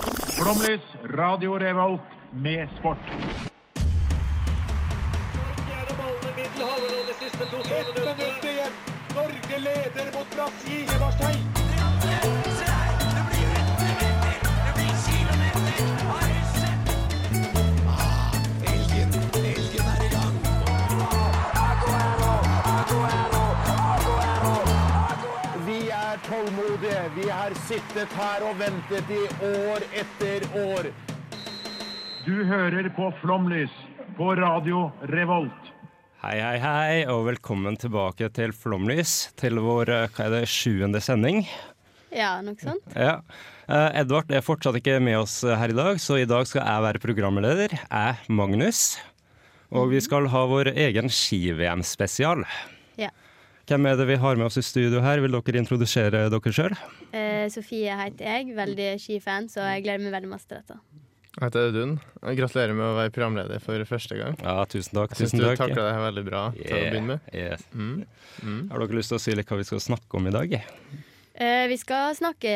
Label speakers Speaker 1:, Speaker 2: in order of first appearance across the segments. Speaker 1: Morgenkomlis, Radio Revolt med sport.
Speaker 2: Fjerde ballen i middelhavet og de siste to
Speaker 3: Ett minutt
Speaker 2: minuttene.
Speaker 3: igjen. Norge leder mot Brasil. Eberstein.
Speaker 4: Vi er tålmodige. Vi har sittet her og ventet i år etter år.
Speaker 1: Du hører på Flomlys på Radio Revolt.
Speaker 5: Hei, hei, hei, og velkommen tilbake til Flomlys, til vår eh, hva er det, sjuende sending.
Speaker 6: Ja, noe sånt.
Speaker 5: Ja. Eh, Edvard er fortsatt ikke med oss eh, her i dag, så i dag skal jeg være programleder. Jeg, Magnus. Og vi skal ha vår egen ski-VM-spesial.
Speaker 6: Ja.
Speaker 5: Hvem er det vi har med oss i studio her? Vil dere introdusere dere sjøl?
Speaker 6: Eh, Sofie heter jeg, veldig skifan, så jeg gleder meg veldig masse til dette.
Speaker 7: Jeg heter Audun. og Gratulerer med å være programleder for første gang.
Speaker 5: Ja, tusen takk.
Speaker 7: Jeg syns
Speaker 5: Tusen
Speaker 7: du
Speaker 5: takk.
Speaker 7: takla det her veldig bra til å
Speaker 5: Yeah,
Speaker 7: begynne med.
Speaker 5: yes. Har dere lyst til å si litt hva vi skal snakke om i dag?
Speaker 6: Eh, vi skal snakke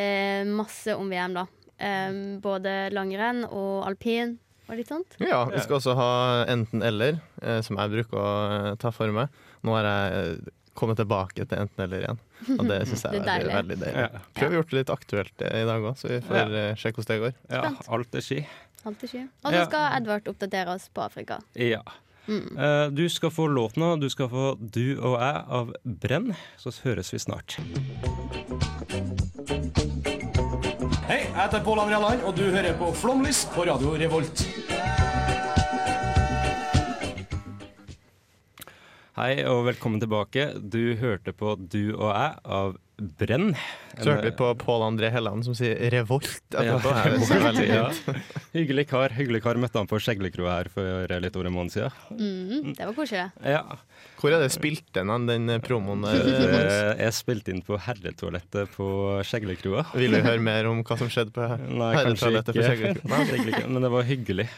Speaker 6: masse om VM, da. Eh, både langrenn og alpin og litt sånt.
Speaker 7: Ja, Vi skal også ha enten-eller, eh, som jeg bruker å eh, ta for meg. Nå har jeg eh, kommet tilbake til enten-eller igjen, og det syns
Speaker 6: Det
Speaker 7: jeg er
Speaker 6: er
Speaker 7: veldig, veldig deilig.
Speaker 5: Ja.
Speaker 7: Prøv å gjøre det litt aktuelt eh, i dag òg, så vi får
Speaker 5: Ja.
Speaker 7: eh, sjekke hvordan det går.
Speaker 5: Ja, alt er ski.
Speaker 6: Alltid ski. Og så
Speaker 5: Ja.
Speaker 6: skal Edvard oppdatere oss på Afrika.
Speaker 5: Ja. Eh, Du skal få låten, du skal få 'Du og jeg' av Brenn. Så høres vi snart.
Speaker 8: Hei, jeg heter Pål André Land, og du hører på Flomlys på Radio Revolt.
Speaker 5: Hei og velkommen tilbake. Du hørte på 'Du og jeg' av Brenn.
Speaker 7: Så hørte vi på Pål André Helland som sier 'revolt'
Speaker 5: Ja.
Speaker 7: etterpå. Jeg synes det er veldig
Speaker 5: Ja.
Speaker 7: fint.
Speaker 5: Hyggelig kar. Hyggelig kar møtte han på Skjeglekroa her for litt over en måned siden.
Speaker 6: Mm, det var koselig.
Speaker 5: Ja.
Speaker 7: Hvor er det spilt den, hen, den eh, promoen? eh,
Speaker 5: Eh, Jeg spilte inn på herretoalettet på Skjeglekroa.
Speaker 7: Vil du høre mer om hva som skjedde på
Speaker 5: Nei, kanskje
Speaker 7: herretoalettet
Speaker 5: ikke.
Speaker 7: på Skjeggekroken? Nei.
Speaker 5: Skjeglekroa, Men det var hyggelig.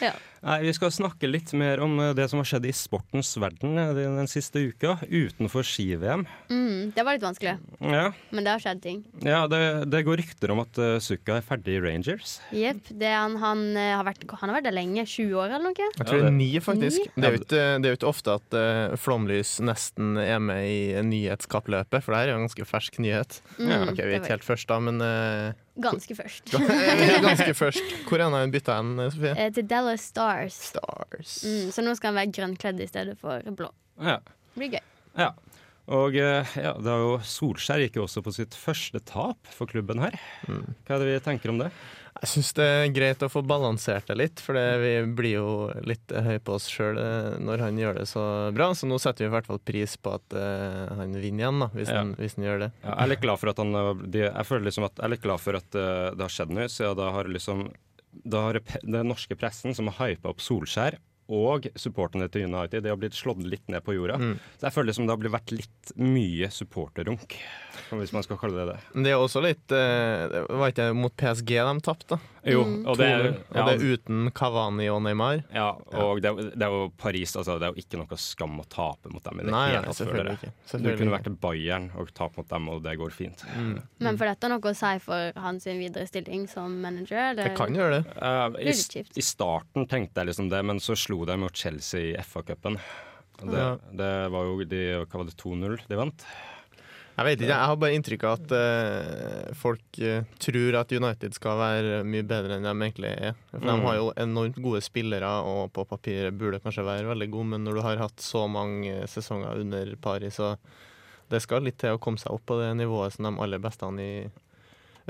Speaker 6: Ja.
Speaker 5: Nei, Vi skal snakke litt mer om eh, det som har skjedd i sportens verden eh, den den siste uka, utenfor ski-VM.
Speaker 6: Mm, det var litt vanskelig,
Speaker 5: Ja,
Speaker 6: men det har skjedd ting.
Speaker 5: ja det, det går rykter om at eh, Sukka er ferdig i Rangers.
Speaker 6: Jepp. det Han, han, eh, har vært- han har vært der lenge. 20 år eller noe?
Speaker 7: Jeg tror det er ni, faktisk.
Speaker 5: Ni?
Speaker 7: Det er jo ikke, det er jo ikke ofte at eh, flomlys nesten er med i nyhetskappløpet, for det her er jo en ganske fersk nyhet.
Speaker 5: Ja,
Speaker 7: ok, Vi er
Speaker 6: det
Speaker 7: ikke helt først, da, men eh,
Speaker 6: Ganske først.
Speaker 7: ganske først. Hvor er han bytta hen, Sofie?
Speaker 6: Eh, til Dallas Stars.
Speaker 7: Stars.
Speaker 6: Mm, så nå skal han være grønnkledd i stedet for blå.
Speaker 5: Ja.
Speaker 6: Det blir gøy.
Speaker 5: ja. Og eh, ja, det er jo Solskjær gikk jo også på sitt første tap for klubben her. Hva er det vi tenker om det?
Speaker 7: Jeg syns det er greit å få balansert det litt, for det- vi blir jo litt eh, høy på oss sjøl når han gjør det så bra. Så nå setter vi i hvert fall pris på at eh, han vinner igjen, da, hvis,
Speaker 5: Ja.
Speaker 7: han, hvis han gjør det.
Speaker 5: Ja, jeg er litt glad for at han eh, de, Jeg føler liksom at jeg er litt glad for at eh, det har skjedd nå, siden da har liksom da har pe- den norske pressen som har hypa opp Solskjær og supporterne til United, de har blitt slått litt ned på jorda. Så jeg føler liksom det har blitt vært litt mye supporterrunk, hvis man skal kalle det det.
Speaker 7: Men det er også litt eh, det Var ikke det mot PSG de tapte? da?
Speaker 5: Jo, og det er,
Speaker 7: Og det er uten Kavani og Neymar.
Speaker 5: ja, og det, er- det er jo Paris, altså det er jo ikke noe skam å tape mot dem i det
Speaker 7: Nei,
Speaker 5: hele
Speaker 7: nei,
Speaker 5: tatt.
Speaker 7: selvfølgelig
Speaker 5: føler
Speaker 7: ikke.
Speaker 5: jeg. Du
Speaker 7: Selvfølgelig
Speaker 5: kunne
Speaker 7: ikke.
Speaker 5: vært til Bayern og tape mot dem, og det går fint.
Speaker 6: Men får dette noe å si for hans videre stilling som manager? Eller?
Speaker 7: Jeg kan gjøre det.
Speaker 5: Eh, i,
Speaker 6: litt kjipt.
Speaker 5: I starten tenkte jeg liksom det, men så slo de mot Chelsea i FA-cupen. Det,
Speaker 7: Ja.
Speaker 5: det var jo de, hva var det, 2-0 de vant?
Speaker 7: Jeg vet ikke, jeg har bare inntrykk av at eh, folk eh, tror at United skal være mye bedre enn de egentlig er. For
Speaker 5: Mm.
Speaker 7: De har jo enormt gode spillere, og på papiret burde kanskje være veldig gode, men når du har hatt så mange eh, sesonger under pari, så det skal litt til å komme seg opp på det nivået som de aller beste i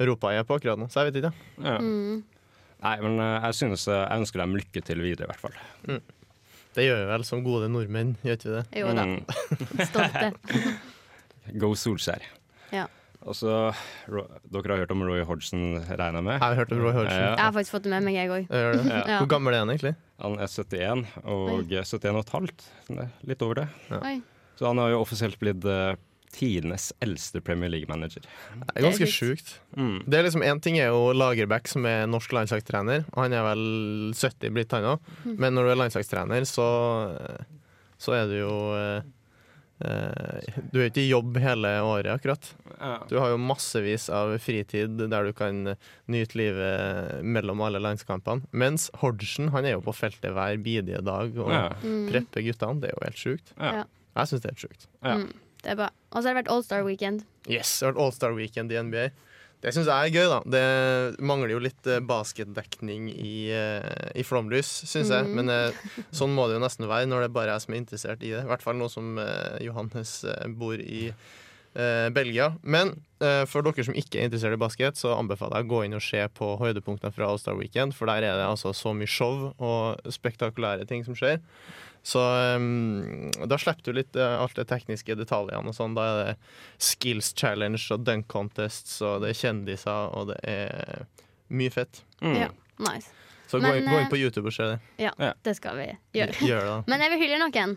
Speaker 7: Europa er på akkurat nå. Så jeg vet ikke.
Speaker 5: Ja.
Speaker 6: Mm.
Speaker 5: Nei, men eh, jeg synes eh, jeg ønsker dem lykke til videre, i hvert fall.
Speaker 7: Det gjør vi vel som gode nordmenn, gjør ikke vi det?
Speaker 6: Jo da,
Speaker 5: Mm.
Speaker 6: stolte.
Speaker 5: Go Solskjær.
Speaker 6: Ja.
Speaker 5: Og så, Ro- Dere har hørt om Roy Hodgson, regner jeg
Speaker 7: Jeg
Speaker 5: med?
Speaker 7: har hørt om Roy Hodgson.
Speaker 6: Jeg har faktisk fått det med meg, jeg òg.
Speaker 7: Jeg gjør det.
Speaker 6: Ja.
Speaker 7: Hvor gammel er han egentlig?
Speaker 5: Han er 71, og 71 og et halvt. sånn det, Litt over det.
Speaker 6: Oi.
Speaker 5: Så han har jo offisielt blitt eh, tidenes eldste Premier League-manager.
Speaker 7: Det er ganske
Speaker 6: Det er
Speaker 7: sjukt.
Speaker 5: Mm.
Speaker 7: Det er liksom Én ting er jo Lagerbäck, som er norsk landslagstrener. Og han er vel 70
Speaker 5: Mm.
Speaker 7: blitt, han òg. Men når du er landslagstrener, så, så er du jo eh, eh, Du er ikke i jobb hele året, akkurat. Du har jo massevis av fritid der du kan nyte livet mellom alle landskampene. Mens Hodgson han er jo på feltet hver bidige dag og
Speaker 5: Ja.
Speaker 7: prepper guttene. Det er jo helt sjukt.
Speaker 5: Ja.
Speaker 6: Ja.
Speaker 7: Jeg syns det er helt sjukt.
Speaker 6: Det er bra. Og så har det vært Allstar Weekend.
Speaker 7: Yes, det har vært Allstar Weekend i NBA. Det syns jeg er gøy, da. Det mangler jo litt eh, basketdekning i, eh, i flomlys, syns jeg. Men eh, sånn må det jo nesten være når det bare er jeg som er interessert i det. I hvert fall nå som eh, Johannes eh, bor i eh, Belgia. Men eh, for dere som ikke er interessert i basket, så anbefaler jeg å gå inn og se på høydepunktene fra Allstar Weekend, for der er det altså så mye show og spektakulære ting som skjer. Så eh, da slipper du litt eh, alt det tekniske detaljene og sånn. Da er det skills challenge og dunk contests, og det er kjendiser, og det er mye fett.
Speaker 6: Ja, nice.
Speaker 7: Så gå,
Speaker 6: Men,
Speaker 7: inn, gå
Speaker 6: eh,
Speaker 7: inn på YouTube og se det.
Speaker 6: Ja,
Speaker 5: Ja.
Speaker 6: det skal vi gjøre.
Speaker 7: Gjør det, da.
Speaker 6: Men jeg vil hylle noen.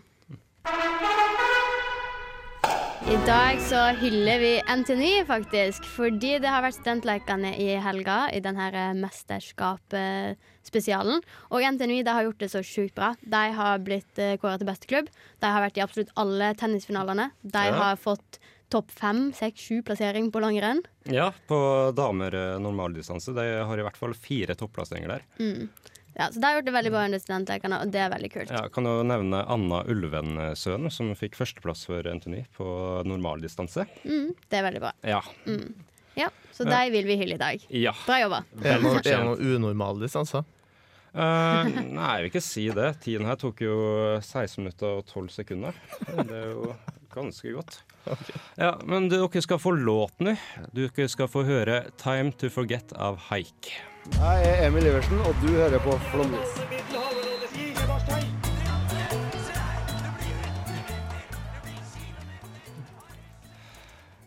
Speaker 6: I dag så hyller vi NTNU, faktisk. Fordi det har vært studentlekene i helga i denne mesterskapsspesialen. Og NTNU de har gjort det så sjukt bra. De har blitt kåra til beste klubb. De har vært i absolutt alle tennisfinalene. De har fått topp fem, seks, sju plassering på langrenn.
Speaker 5: Ja, på damer eh, normaldistanse. De har i hvert fall fire topplasseringer der.
Speaker 6: Ja, så de har gjort det veldig bra under studentlekene, og det er veldig kult.
Speaker 5: Ja, kan jo nevne Anna Ulven-sønnen, som fikk førsteplass for NTNU på normaldistanse.
Speaker 6: Det er veldig bra.
Speaker 5: Ja.
Speaker 6: Ja, Så de vil vi hylle i dag.
Speaker 5: ja.
Speaker 6: Bra jobba.
Speaker 7: Er det noe-
Speaker 5: fortjent.
Speaker 7: er det noe liksom, unormal distanse?
Speaker 5: Eh, nei, jeg vil ikke si det. Tiden her tok jo 16 minutter og 12 sekunder. Det er jo ganske godt. Ja, Men dere skal få låt nå. Dere skal få høre 'Time To Forget' av Haik.
Speaker 9: Jeg er Emil Iversen, og du hører på Flåmlys.
Speaker 2: Alle Middelhavet, alle
Speaker 3: I Gjevarstein.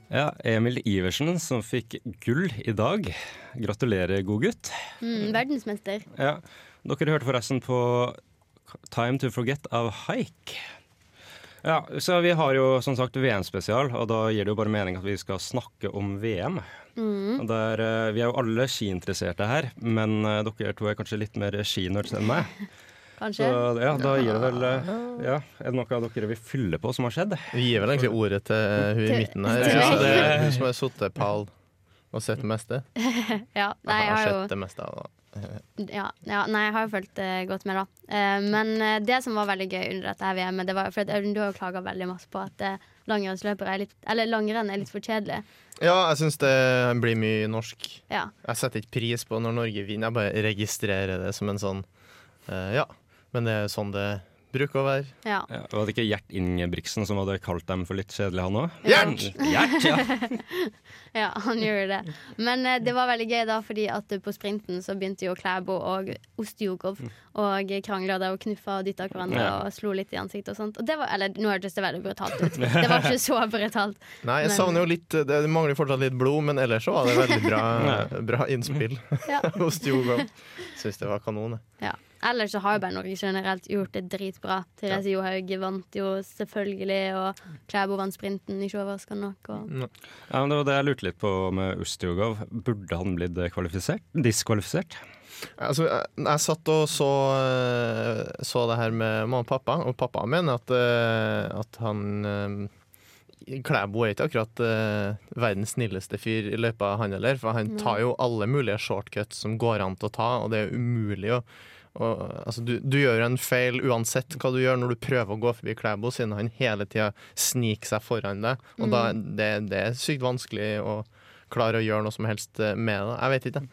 Speaker 5: Ja, Emil Iversen som fikk gull i dag. Gratulerer, god gutt.
Speaker 6: Mm, verdensmester.
Speaker 5: Ja, Dere hørte forresten på 'Time To Forget' av Haik. Ja, så Vi har jo som sagt VM-spesial, og da gir det jo bare mening at vi skal snakke om VM. Og Der, eh, vi er jo alle skiinteresserte her, men eh, dere to er kanskje litt mer skinerds enn meg.
Speaker 6: Kanskje?
Speaker 5: Så ja, da gir det vel eh, ja, Er det noe av dere vil fylle på som har skjedd?
Speaker 7: Vi gir vel egentlig ordet til eh, hun i
Speaker 6: Til-
Speaker 7: midten her.
Speaker 6: til
Speaker 7: Ja,
Speaker 6: meg.
Speaker 7: det er hun som har sittet pal og sett det meste.
Speaker 6: Ja, nei,
Speaker 7: Jeg
Speaker 6: jeg har
Speaker 7: har
Speaker 6: jo
Speaker 7: sett det meste av det.
Speaker 6: ja, ja, nei, jeg har jo fulgt eh, godt med, da. Eh, men eh, det som var veldig gøy under dette her VM-et, det var for at Audun, du har jo klaga veldig masse på at eh, langrennsløpere er litt Eller langrenn er litt for kjedelig.
Speaker 7: Ja, jeg syns det blir mye norsk.
Speaker 6: Ja.
Speaker 7: Jeg setter ikke pris på når Norge vinner, jeg bare registrerer det som en sånn eh, Ja, men det er sånn det bruker å være.
Speaker 6: ja.
Speaker 5: Ja, var det ikke Gjert Ingebrigtsen som hadde kalt dem for litt kjedelige, han òg?
Speaker 7: Gjert!
Speaker 5: Gjert, ja.
Speaker 6: Ja, han gjorde det. Men eh, det var veldig gøy, da, fordi at eh, på sprinten så begynte jo Klæbo og Ostjogov og krangla der og knuffa og dytta hverandre
Speaker 5: Ja.
Speaker 6: og slo litt i ansiktet og sånt. Og det var, eller nå hørtes det veldig brutalt ut. Det var ikke så brutalt.
Speaker 7: Nei, jeg
Speaker 6: Men-
Speaker 7: savner jo litt eh, Det mangler fortsatt litt blod, men ellers så var det veldig bra, bra innspill
Speaker 6: Ja.
Speaker 7: hos Djogov. Syns det var kanon. jeg.
Speaker 6: Ja. Ellers så har jo bare Norge generelt gjort det dritbra. Therese Johaug vant jo selvfølgelig, og Klæbo vant sprinten, ikke overraskende nok.
Speaker 7: Mm.
Speaker 6: Og...
Speaker 5: ja men det var det jeg lurte litt på med Ustjogov. Burde han blitt kvalifisert? Diskvalifisert?
Speaker 7: Altså, jeg, jeg satt og så, eh, så det her med mamma og pappa, og pappa mener at, eh, at han eh, Klæbo er ikke akkurat eh, verdens snilleste fyr i løypa, han heller. For han tar jo alle mulige shortcuts som går an til å ta, og det er umulig å og, altså, du, du gjør en feil uansett hva du gjør når du prøver å gå forbi Klæbo, siden han hele tida sniker seg foran deg. Og da, det, det er sykt vanskelig å klare å gjøre noe som helst eh, med det. Jeg vet ikke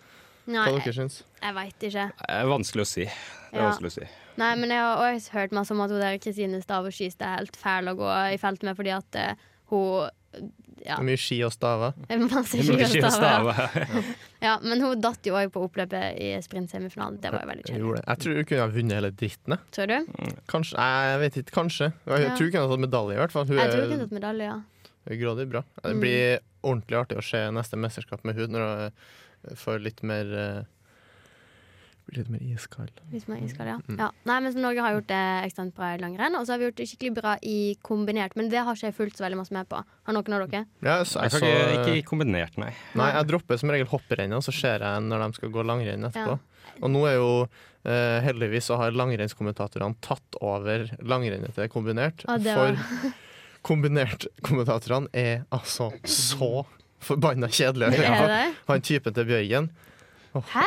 Speaker 6: Nei,
Speaker 7: hva dere
Speaker 6: jeg,
Speaker 7: syns.
Speaker 6: jeg veit ikke.
Speaker 5: Det er vanskelig å si. Det er
Speaker 6: Ja.
Speaker 5: vanskelig å si.
Speaker 6: Nei, men jeg har også hørt masse om at hun der Kristine Stavås-Skystad er helt fæl å gå i felt med fordi at eh, hun Ja.
Speaker 7: Mye ski og staver.
Speaker 6: Masse skistaver. Ja, men hun datt jo òg på oppløpet i sprintsemifinalen. Det var jo veldig
Speaker 7: Jeg,
Speaker 6: kjedelig.
Speaker 7: gjorde det. jeg tror hun kunne ha vunnet hele dritten. jeg.
Speaker 6: Tror du?
Speaker 7: Kanskje, Nei, jeg vet ikke, kanskje. Jeg
Speaker 6: Ja.
Speaker 7: tror hun kunne ha tatt medalje, i hvert fall. Hun
Speaker 6: Jeg tror Mm. hun kunne
Speaker 7: er
Speaker 6: tatt medalje, ja.
Speaker 7: grådig bra. Det blir ordentlig artig å se neste mesterskap med hun når hun får litt mer eh, Blir litt mer iskald.
Speaker 6: Hvis man skal, ja.
Speaker 7: Mm.
Speaker 6: ja. Nei, men så Norge har gjort det ekstremt bra i langrenn, og så har vi gjort det skikkelig bra i kombinert. Men det har ikke jeg fulgt så veldig masse med på. Har noen av dere?
Speaker 7: Ja, så,
Speaker 5: Jeg
Speaker 7: jeg,
Speaker 5: kan
Speaker 7: så,
Speaker 5: ikke, ikke i kombinert, nei.
Speaker 7: nei, jeg dropper som regel hopprennet, og så ser jeg når de skal gå langrenn
Speaker 6: Ja.
Speaker 7: etterpå. Og nå er jo eh, heldigvis så har langrennskommentatorene tatt over langrennet til kombinert.
Speaker 6: Ja, det var-
Speaker 7: For Kombinertkommentatorene er altså så forbanna kjedelige. å høre
Speaker 6: Er
Speaker 7: på.
Speaker 6: det?
Speaker 7: Han typen til Bjørgen
Speaker 6: Hæ?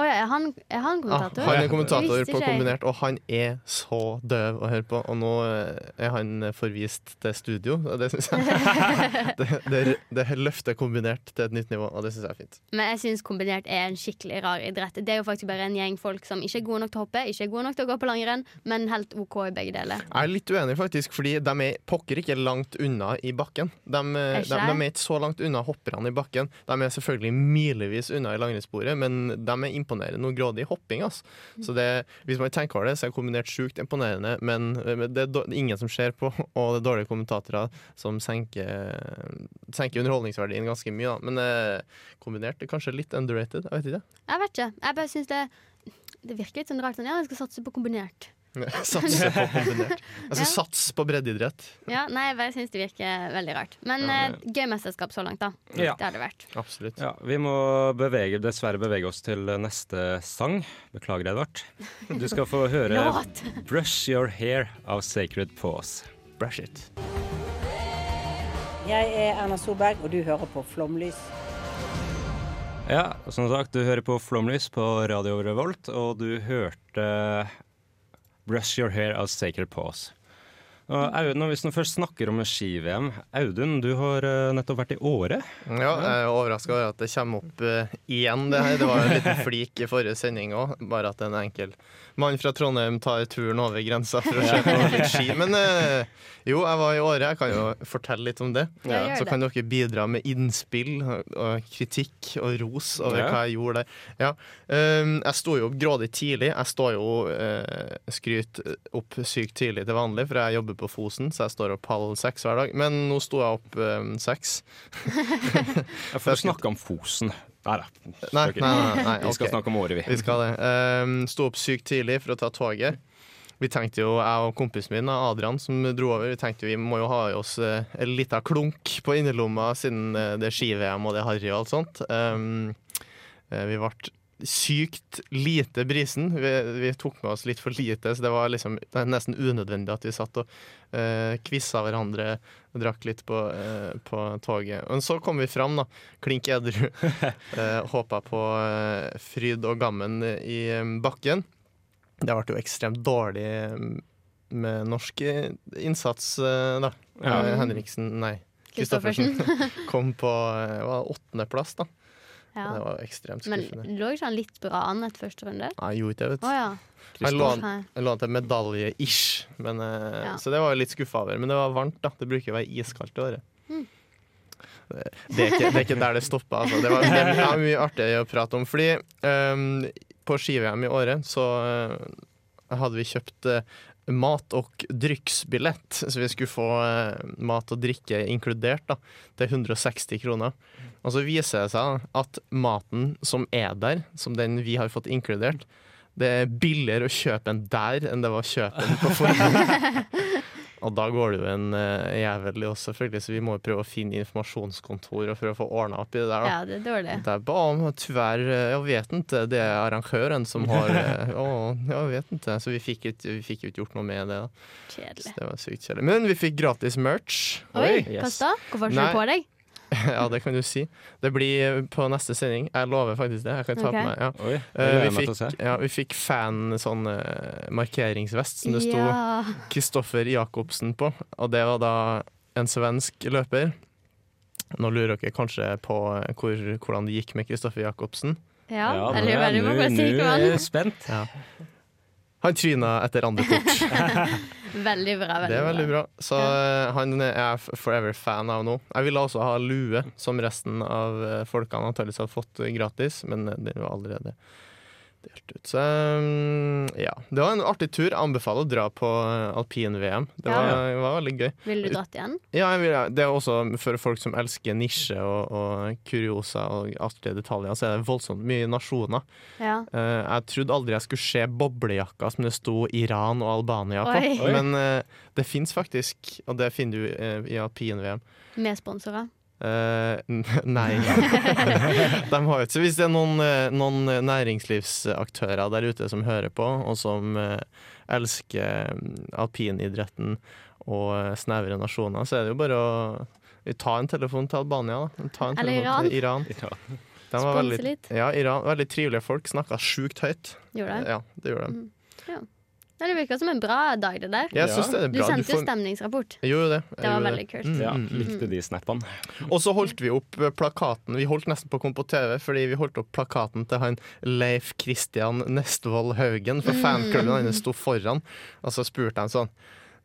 Speaker 6: Å ja, er han, er han
Speaker 7: ah,
Speaker 6: kommentator?
Speaker 7: Han er kommentator
Speaker 6: Visste
Speaker 7: på
Speaker 6: ikke jeg.
Speaker 7: Kombinert, og han er så døv å høre på. Og nå eh, er han forvist til studio, og det syns jeg det, det, det løfter Kombinert til et nytt nivå, og det syns jeg er fint.
Speaker 6: Men jeg syns kombinert er en skikkelig rar idrett. Det er jo faktisk bare en gjeng folk som ikke er gode nok til å hoppe, ikke er gode nok til å gå på langrenn, men helt OK i begge deler.
Speaker 7: Jeg er litt uenig, faktisk, fordi de er pokker ikke langt unna i bakken. De,
Speaker 6: Er
Speaker 7: eh,
Speaker 6: ikke
Speaker 7: de,
Speaker 6: det?
Speaker 7: de er ikke så langt unna hopperne i bakken. De er selvfølgelig milevis unna i langrennssporet, men de er imponerende og grådige i hopping. ass. Så det, hvis man tenker over det, så er kombinert sjukt imponerende, men eh, men det er dår- ingen som ser på, og det er dårlige kommentatorer som senker, senker underholdningsverdien ganske mye. Da. Men eh, kombinert er kanskje litt underrated, jeg vet ikke.
Speaker 6: Jeg vet ikke. Jeg bare syns det Det virker litt sånn rart. Sånn, ja, jeg skal satse på kombinert.
Speaker 7: Satse på kombinert. Jeg skal
Speaker 6: Ja.
Speaker 7: satse på breddeidrett.
Speaker 6: Ja, nei, jeg bare syns det virker veldig rart. Men eh, gøy mesterskap så langt, da.
Speaker 5: Ja.
Speaker 6: Det har det vært.
Speaker 7: Absolutt.
Speaker 5: Ja, vi må bevege, dessverre bevege oss til neste sang. Beklager, Edvard. Du skal få høre
Speaker 6: Låt!
Speaker 5: 'Brush Your Hair' av Sacred Pause.
Speaker 7: Brush it.
Speaker 10: Jeg er Erna Solberg, og du hører på Flomlys.
Speaker 5: Ja, som sagt, du hører på Flomlys på Radio Revolt, og du hørte 'Brush Your Hair' av Sacred Pause. Og Audun, og hvis du først snakker om ski-VM Audun, du har eh, nettopp vært i Åre.
Speaker 7: Ja, jeg er overraska over at det kommer opp eh, igjen, det her. Det var jo en liten flik i forrige sending òg, bare at en enkel mann fra Trondheim tar turen over grensa for å se på litt ski. Men eh, jo, jeg var i Åre. Jeg kan jo fortelle litt om det.
Speaker 6: Ja, gjør
Speaker 7: Så
Speaker 6: det.
Speaker 7: kan dere bidra med innspill og og kritikk og ros over
Speaker 5: Ja.
Speaker 7: hva jeg gjorde der. Ja. Um, jeg sto jo opp grådig tidlig. Jeg står jo eh, skryt opp sykt tidlig til vanlig, for jeg jobber på Fosen, så jeg står opp halv seks hver dag. Men nå sto jeg opp eh, seks.
Speaker 5: Jeg får snakke om Fosen. Nei da.
Speaker 7: Nei, nei, nei, nei,
Speaker 5: Vi skal
Speaker 7: ok.
Speaker 5: snakke om Åre, vi.
Speaker 7: Vi skal det. Ehm, Sto opp sykt tidlig for å ta toget. Vi tenkte jo, jeg og kompisen min, Adrian, som dro over, vi tenkte vi må jo ha i oss eh, en liten klunk på innerlomma siden eh, det er ski-VM og det er harry og alt sånt. Ehm, eh, vi ble sykt lite brisen. Vi, vi tok med oss litt for lite, så det var liksom det er nesten unødvendig at vi satt og uh, kvissa hverandre og drakk litt på, eh, på toget. Men så kom vi fram, da. Klink edru. Eh, håpa på eh, fryd og gammen i eh, bakken. Det ble jo ekstremt dårlig eh, med norsk eh, innsats, eh, da.
Speaker 5: Ja.
Speaker 7: Eh, Henriksen, nei.
Speaker 6: Kristoffersen.
Speaker 7: kom på eh, var åttendeplass, da.
Speaker 6: Ja.
Speaker 7: Det var ekstremt
Speaker 6: Men
Speaker 7: skuffende.
Speaker 6: lå ikke han litt bra an etter første runde?
Speaker 7: Nei, jeg gjorde ikke det, vet
Speaker 6: Å
Speaker 7: du.
Speaker 6: ja.
Speaker 7: Jeg lå an-
Speaker 6: Nei.
Speaker 7: jeg lå an til medalje-ish, men, eh,
Speaker 6: Ja.
Speaker 7: så det var jeg litt skuffa over. Men det var varmt, da. Det bruker jo å være iskaldt i året.
Speaker 6: Hmm.
Speaker 7: Det, det, er ikke, det er ikke der det stoppa, altså. Det var, det er mye artig å prate om. Fordi eh, på ski-VM i året så eh, hadde vi kjøpt eh, mat- og drikksbillett, så vi skulle få eh, mat og drikke inkludert, da. Til 160 kroner. Og så viser det seg at maten som er der, som den vi har fått inkludert, det er billigere å kjøpe en der enn det var å kjøpe en på forhånd. Og da går det jo en eh, jævel i oss, selvfølgelig, så vi må jo prøve å finne informasjonskontor og prøve å få ordna opp i det der. da.
Speaker 6: ja, det er dårlig.
Speaker 7: Det er bare om tyvärr, eh, jeg vet ikke, det er arrangøren som har eh, Å, jeg vet ikke. Så vi fikk ikke vi fikk jo ikke gjort noe med det. da. Så
Speaker 6: Kjedelig.
Speaker 7: det var sykt kjedelig. Men vi fikk gratis merch.
Speaker 6: Oi,
Speaker 5: Yes.
Speaker 6: pass da. Hvorfor har du
Speaker 7: Nei.
Speaker 6: ikke på deg?
Speaker 7: Ja, det kan du si. Det blir eh, på neste sending. Jeg lover faktisk det. Jeg kan ta
Speaker 6: Ok.
Speaker 7: på meg. Ja.
Speaker 5: Oi, det
Speaker 7: Eh,
Speaker 5: gleder jeg
Speaker 7: vi,
Speaker 5: meg til å se.
Speaker 7: fikk, ja, vi fikk fan sånn eh, markeringsvest som det sto
Speaker 6: Ja.
Speaker 7: Kristoffer Jacobsen på, og det var da en svensk løper. Nå lurer dere kanskje på eh, hvor, hvordan det gikk med Kristoffer Jacobsen.
Speaker 6: ja.
Speaker 5: nå
Speaker 6: Eller
Speaker 5: er
Speaker 6: bare, du må bare
Speaker 5: jeg-
Speaker 6: si
Speaker 5: nå
Speaker 6: hva
Speaker 5: er
Speaker 6: han
Speaker 5: jeg spent.
Speaker 7: Han tryna etter andre kort.
Speaker 6: Veldig bra. Veldig
Speaker 7: Det er veldig bra. Så eh, han er jeg forever fan av nå. Jeg ville også ha lue, som resten av eh, folkene antakeligvis hadde fått eh, gratis, men eh, den var allerede delt ut. Så eh, ja. Det var en artig tur. Jeg anbefaler å dra på eh, alpin-VM. Det
Speaker 6: Ja.
Speaker 7: var, var veldig gøy.
Speaker 6: Ville du dratt igjen?
Speaker 7: Ja, jeg vil, det er også mm, for folk som elsker nisje og, og kuriosa og artige detaljer, så er det voldsomt mye nasjoner.
Speaker 6: Ja.
Speaker 7: Eh, jeg trodde aldri jeg skulle se boblejakka som det sto Iran og Albania på.
Speaker 6: Oi. Oi.
Speaker 7: Men eh, det fins faktisk, og det finner du eh, i alpin-VM.
Speaker 6: Med sponsorer?
Speaker 7: Eh, n- nei. De har jo ikke Hvis det er noen, eh, noen næringslivsaktører der ute som hører på, og som eh, elsker mm, alpinidretten og eh, snevre nasjoner, så er det jo bare å ta en telefon til Albania. Da. Ta en
Speaker 6: Eller
Speaker 7: telefon til Iran. De var
Speaker 6: Sponse
Speaker 7: veldig,
Speaker 6: litt.
Speaker 7: Ja, Iran, veldig trivelige folk. Snakka sjukt høyt.
Speaker 6: Gjorde det? Mm.
Speaker 7: Ja, det gjorde de.
Speaker 6: Nei, Det virka som en bra dag, det der.
Speaker 7: Jeg syns det er
Speaker 6: Du
Speaker 7: bra.
Speaker 6: sendte
Speaker 7: får-
Speaker 6: stemningsrapport.
Speaker 7: Jeg gjorde det. Jeg
Speaker 6: Det var
Speaker 7: gjorde
Speaker 6: veldig kult.
Speaker 5: Ja,
Speaker 7: mm,
Speaker 5: likte de snappene.
Speaker 7: Og så holdt vi opp eh, plakaten. Vi holdt nesten på å komme på TV, fordi vi holdt opp plakaten til han Leif Christian Nestvold Haugen, for fanklubben
Speaker 6: Mm.
Speaker 7: hans sto foran. Og så spurte han sånn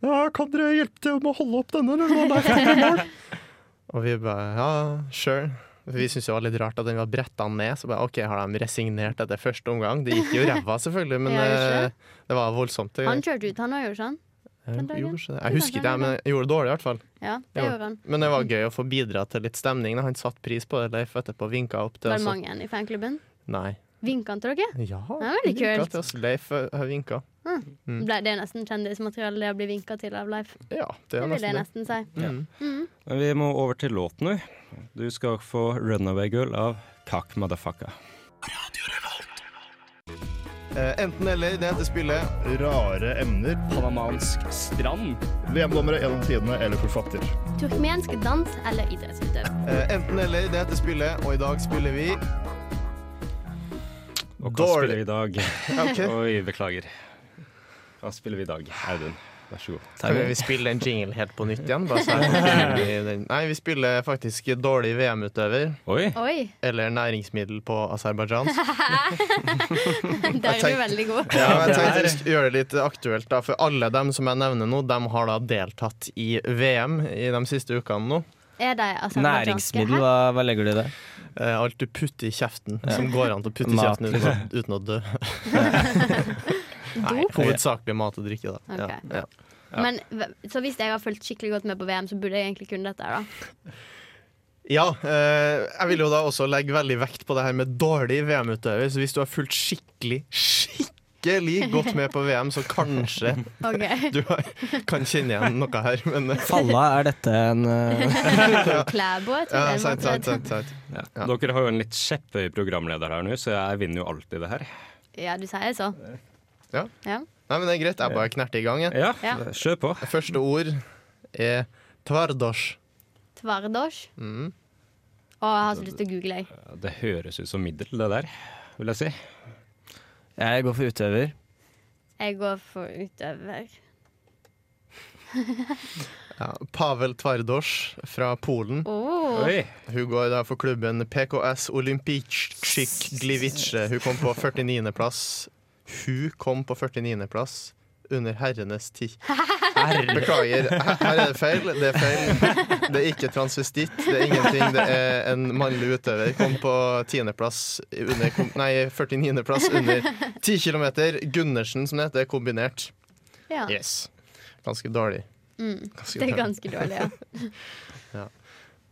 Speaker 7: Ja, kan dere hjelpe til med å holde opp denne? Eller noe der framme i mål? og vi bare ja, sure. For Vi syntes det var litt rart at den var bretta ned. Så bare OK, har de resignert etter første omgang? Det gikk jo ræva, selvfølgelig, men
Speaker 6: Ja,
Speaker 7: eh,
Speaker 6: gjorde det?
Speaker 7: det var voldsomt. det-
Speaker 6: Han kjørte ut, han sånn. òg, gjorde ikke han?
Speaker 7: Eh,
Speaker 6: den dagen.
Speaker 7: jo, kanskje
Speaker 6: Det
Speaker 7: det. Jeg husker
Speaker 6: kanskje
Speaker 7: ikke,
Speaker 6: han
Speaker 7: men jeg gjorde det dårlig i hvert fall.
Speaker 6: Ja, det
Speaker 7: Ja.
Speaker 6: gjorde han.
Speaker 7: Men det var gøy å få bidra til litt stemning. da. Han satte pris på det. Leif etterpå vinka opp til
Speaker 6: Var det
Speaker 7: oss.
Speaker 6: mange igjen i fanklubben?
Speaker 7: Nei.
Speaker 6: Vinka han til dere?
Speaker 7: Ja, Mm.
Speaker 6: var
Speaker 7: han
Speaker 6: litt
Speaker 7: vinka
Speaker 6: kult.
Speaker 7: til oss. Leif eh, har vinka.
Speaker 6: Ble det er nesten kjendismateriale, det å bli vinka til av Life.
Speaker 7: Ja, det
Speaker 6: Det
Speaker 7: er
Speaker 6: vil jeg
Speaker 7: nesten det.
Speaker 6: nesten si.
Speaker 5: Men Vi må over til låt nå. Du skal få 'Runaway Girl' av Kak Madafaka.
Speaker 9: Eh, enten eller, det heter spillet.
Speaker 4: Rare emner.
Speaker 8: Panamansk strand.
Speaker 4: VM-dommere gjennom tidene eller forfatter.
Speaker 6: Turkmensk dans eller idrettsutøver?
Speaker 9: Eh, enten eller, det heter spillet, og i dag spiller vi
Speaker 5: Og hva
Speaker 7: Dårlig.
Speaker 5: spiller vi i dag?
Speaker 7: Ok.
Speaker 5: Oi, beklager. Hva spiller vi i dag, Audun? Vær så god.
Speaker 7: Kan vi spille en jingle helt på nytt igjen? Bare så jeg kan finne i den. Nei, vi spiller faktisk dårlig VM-utøver
Speaker 5: Oi,
Speaker 6: Oi,
Speaker 7: eller næringsmiddel på Aserbajdsjan.
Speaker 6: der er du
Speaker 7: tenk-
Speaker 6: veldig god.
Speaker 7: Ja, men jeg tenkte vi skulle gjøre det litt aktuelt, da, for alle dem som jeg nevner nå, dem har da deltatt i VM i de siste ukene nå.
Speaker 6: Er de aserbajdsjanske
Speaker 11: Næringsmiddel,
Speaker 6: her?
Speaker 11: hva, hva legger du i det?
Speaker 7: Eh, Alt du putter i kjeften, som går an til å putte i
Speaker 11: Mat,
Speaker 7: kjeften uten å, uten å dø. Nei, hovedsakelig mat og drikke, da. Ja,
Speaker 6: Ok.
Speaker 7: ja.
Speaker 6: Men, v- så hvis jeg har fulgt skikkelig godt med på VM, så burde jeg egentlig kunne dette her, da.
Speaker 7: ja eh, jeg vil jo da også legge veldig vekt på det her med dårlig VM-utøver, så hvis du har fulgt skikkelig, skikkelig godt med på VM, så kanskje
Speaker 6: Ok,
Speaker 7: du har, kan kjenne igjen noe her, men eh,
Speaker 11: Falla, er dette en eh,
Speaker 6: Klæbo, jeg tror
Speaker 7: ja,
Speaker 6: jeg
Speaker 7: sant, sant, sant, sant.
Speaker 5: ja.
Speaker 7: Ja.
Speaker 5: Dere har jo en litt skjepphøy programleder her nå, så jeg vinner jo alltid det her.
Speaker 6: Ja, du sier så.
Speaker 7: Ja.
Speaker 6: ja.
Speaker 7: Nei, men det er greit. Jeg bare knerter i gang, jeg.
Speaker 5: Ja,
Speaker 6: Ja.
Speaker 5: kjør på.
Speaker 7: Første ord er tverdosj.
Speaker 6: Tvardosj.
Speaker 7: Mm.
Speaker 6: Å, jeg har så lyst til å google, jeg.
Speaker 5: Det høres ut som middel, det der, vil jeg si.
Speaker 11: Jeg går for utøver.
Speaker 6: Jeg går for utøver.
Speaker 7: Ja, Pavel Tvardosj fra Polen.
Speaker 6: Oh.
Speaker 5: Oi,
Speaker 7: Hun går da for klubben PKS Olimpijczyk Gliwice. Hun kom på 49. plass. Hun kom på 49. plass under herrenes tid. Beklager, her her er det feil. Det er feil. Det er ikke transvestitt, det er ingenting. Det er en mannlig utøver. Kom på 10. plass under kom, Nei, 49. plass under 10 km. Gundersen, som det heter, kombinert.
Speaker 6: Ja.
Speaker 7: Yes. Ganske dårlig.
Speaker 6: Mm.
Speaker 7: Ganske
Speaker 6: Det er ganske dårlig, ja.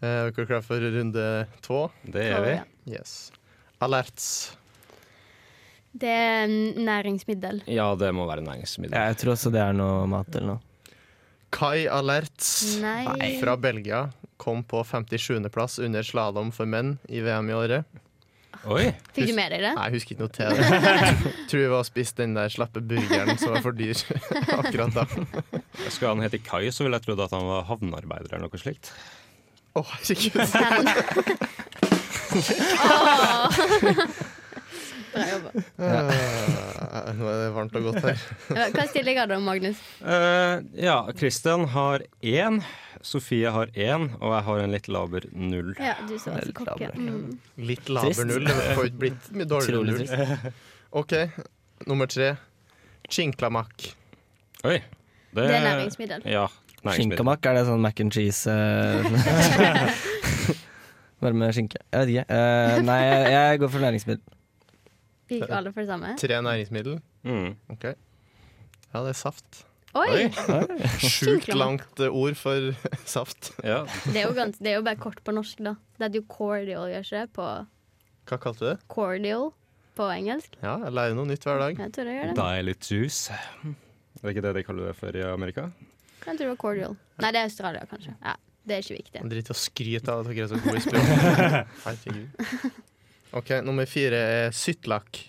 Speaker 7: Eh, Er dere klare for runde to?
Speaker 5: det er vi.
Speaker 7: Yes. Alerts.
Speaker 6: Det er mm, næringsmiddel.
Speaker 5: Ja, det må være næringsmiddel.
Speaker 11: Ja, jeg tror også det er noe mat eller noe.
Speaker 7: Kai Alerts
Speaker 6: Nei. Nei.
Speaker 7: fra Belgia kom på 57. plass under slalåm for menn i VM i året.
Speaker 5: Oi,
Speaker 6: Fikk du med deg det?
Speaker 7: Nei, jeg husker ikke noe til det. Tror vi var og spiste den der slappe burgeren som var for dyr akkurat da. Å,
Speaker 5: Skal han hete Kai, så ville jeg trodd at han var havnearbeider eller noe slikt.
Speaker 7: herregud.
Speaker 6: Bra jobba.
Speaker 7: Eh, Nå er det varmt og godt her.
Speaker 6: Hva stiller jeg da, Magnus?
Speaker 5: Eh, ja, Christian har én, Sofie har én, og jeg har en litt laber null.
Speaker 6: Ja, du som var så kokke. Mm.
Speaker 7: Litt laber
Speaker 11: Trist.
Speaker 7: null. Det får ikke blitt mye dårligere
Speaker 11: Utrolig
Speaker 7: null.
Speaker 11: trist.
Speaker 7: OK, nummer tre. Chinklamak.
Speaker 5: Oi.
Speaker 6: Det er næringsmiddel.
Speaker 5: Ja, næringsmiddel.
Speaker 11: Skinkamakk, er det sånn mac and cheese eh, Bare med skinke. Jeg vet ikke. Eh, nei, jeg, jeg går for næringsmiddel.
Speaker 6: Vi gikk alle for det samme.
Speaker 7: Tre næringsmiddel.
Speaker 5: Mm.
Speaker 7: OK. Ja, det er saft.
Speaker 6: Oi!
Speaker 7: Sjukt
Speaker 6: Chinklamak.
Speaker 7: langt eh, ord for saft.
Speaker 5: Ja.
Speaker 6: Det er jo, gans, det er jo bare kort på norsk, da. Det heter jo cordial, gjør ikke det? På
Speaker 7: Hva kalte du det?
Speaker 6: cordial på engelsk.
Speaker 7: Ja, jeg lærer noe nytt hver dag.
Speaker 6: Jeg tror jeg gjør det.
Speaker 5: Deilig juice. Er det ikke det de kaller det for i Amerika?
Speaker 6: Jeg tror det var cordial. Nei, det er Australia, kanskje. Ja. Det er ikke viktig.
Speaker 7: Han driter i å skryte av at dere er så gode i spill. Herregud. OK, nummer fire er syttlakk.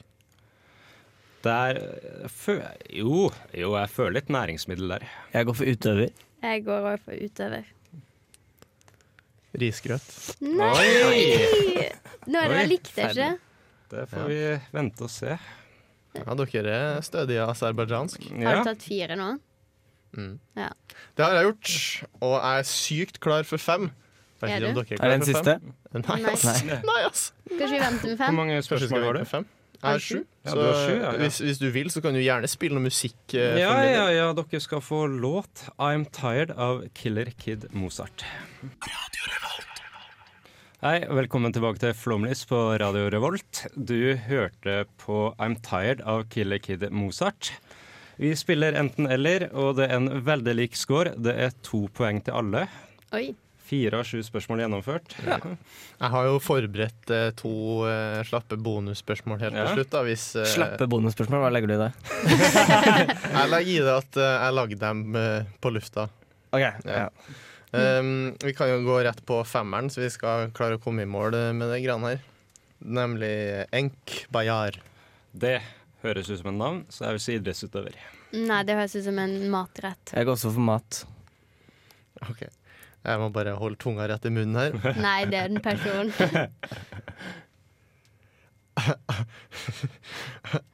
Speaker 5: Det er jeg føl- jo, jo, jeg føler litt næringsmiddel der.
Speaker 12: Jeg går for utøver.
Speaker 6: Jeg går over for utøver.
Speaker 7: Risgrøt.
Speaker 6: Nei! Nå er det
Speaker 5: Oi.
Speaker 6: vel likt, er ikke det?
Speaker 5: Det får vi vente og se.
Speaker 7: Ja, dere er stødige aserbajdsjansk.
Speaker 6: Har
Speaker 5: Ja.
Speaker 6: du tatt fire nå?
Speaker 7: Mm.
Speaker 6: Ja.
Speaker 7: Det har jeg gjort, og jeg er sykt klar for fem. Jeg
Speaker 6: Er
Speaker 7: vet ikke om
Speaker 6: du?
Speaker 7: dere
Speaker 12: Er det
Speaker 7: klar
Speaker 12: den
Speaker 7: for
Speaker 12: siste?
Speaker 7: fem. Nei, ass.
Speaker 12: Nei.
Speaker 7: Nei, ass.
Speaker 6: Skal ikke vi vente med
Speaker 5: Hvor
Speaker 6: fem?
Speaker 5: mange
Speaker 7: Kanskje
Speaker 5: spørsmål
Speaker 7: vi
Speaker 5: var
Speaker 7: går
Speaker 5: det?
Speaker 7: for fem. Jeg er sju.
Speaker 5: Ja,
Speaker 7: Så
Speaker 5: du er sju, ja, ja.
Speaker 7: Hvis, hvis du vil, så kan du gjerne spille noe musikk. eh,
Speaker 5: Ja,
Speaker 7: for min del.
Speaker 5: ja, ja, dere skal få låt 'I'm Tired' av Killer Kid Mozart. Hei, velkommen tilbake til Flåmlys på Radio Revolt. Du hørte på 'I'm Tired' av Killer Kid Mozart. Vi spiller enten-eller, og det er en veldig lik score. Det er to poeng til alle.
Speaker 6: Oi.
Speaker 5: Fire av sju spørsmål gjennomført.
Speaker 7: Jeg har jo forberedt eh, to eh, slappe bonusspørsmål helt
Speaker 5: Ja.
Speaker 7: til slutt. Da, hvis, eh,
Speaker 12: Slappe bonusspørsmål, hva legger du i det?
Speaker 7: Jeg la- gir det at eh, jeg lagde dem eh, på lufta.
Speaker 12: Ok,
Speaker 7: Ja. Um, vi kan jo gå rett på femmeren, så vi skal klare å komme i mål eh, med det greiene her. Nemlig eh, Enk Bayar.
Speaker 5: Det høres ut som en navn, så jeg vil si idrettsutøver.
Speaker 6: Nei, det høres ut som en matrett.
Speaker 12: Jeg går også for mat.
Speaker 7: Ok, Jeg må bare holde tunga rett i munnen her.
Speaker 6: Nei, det er en person.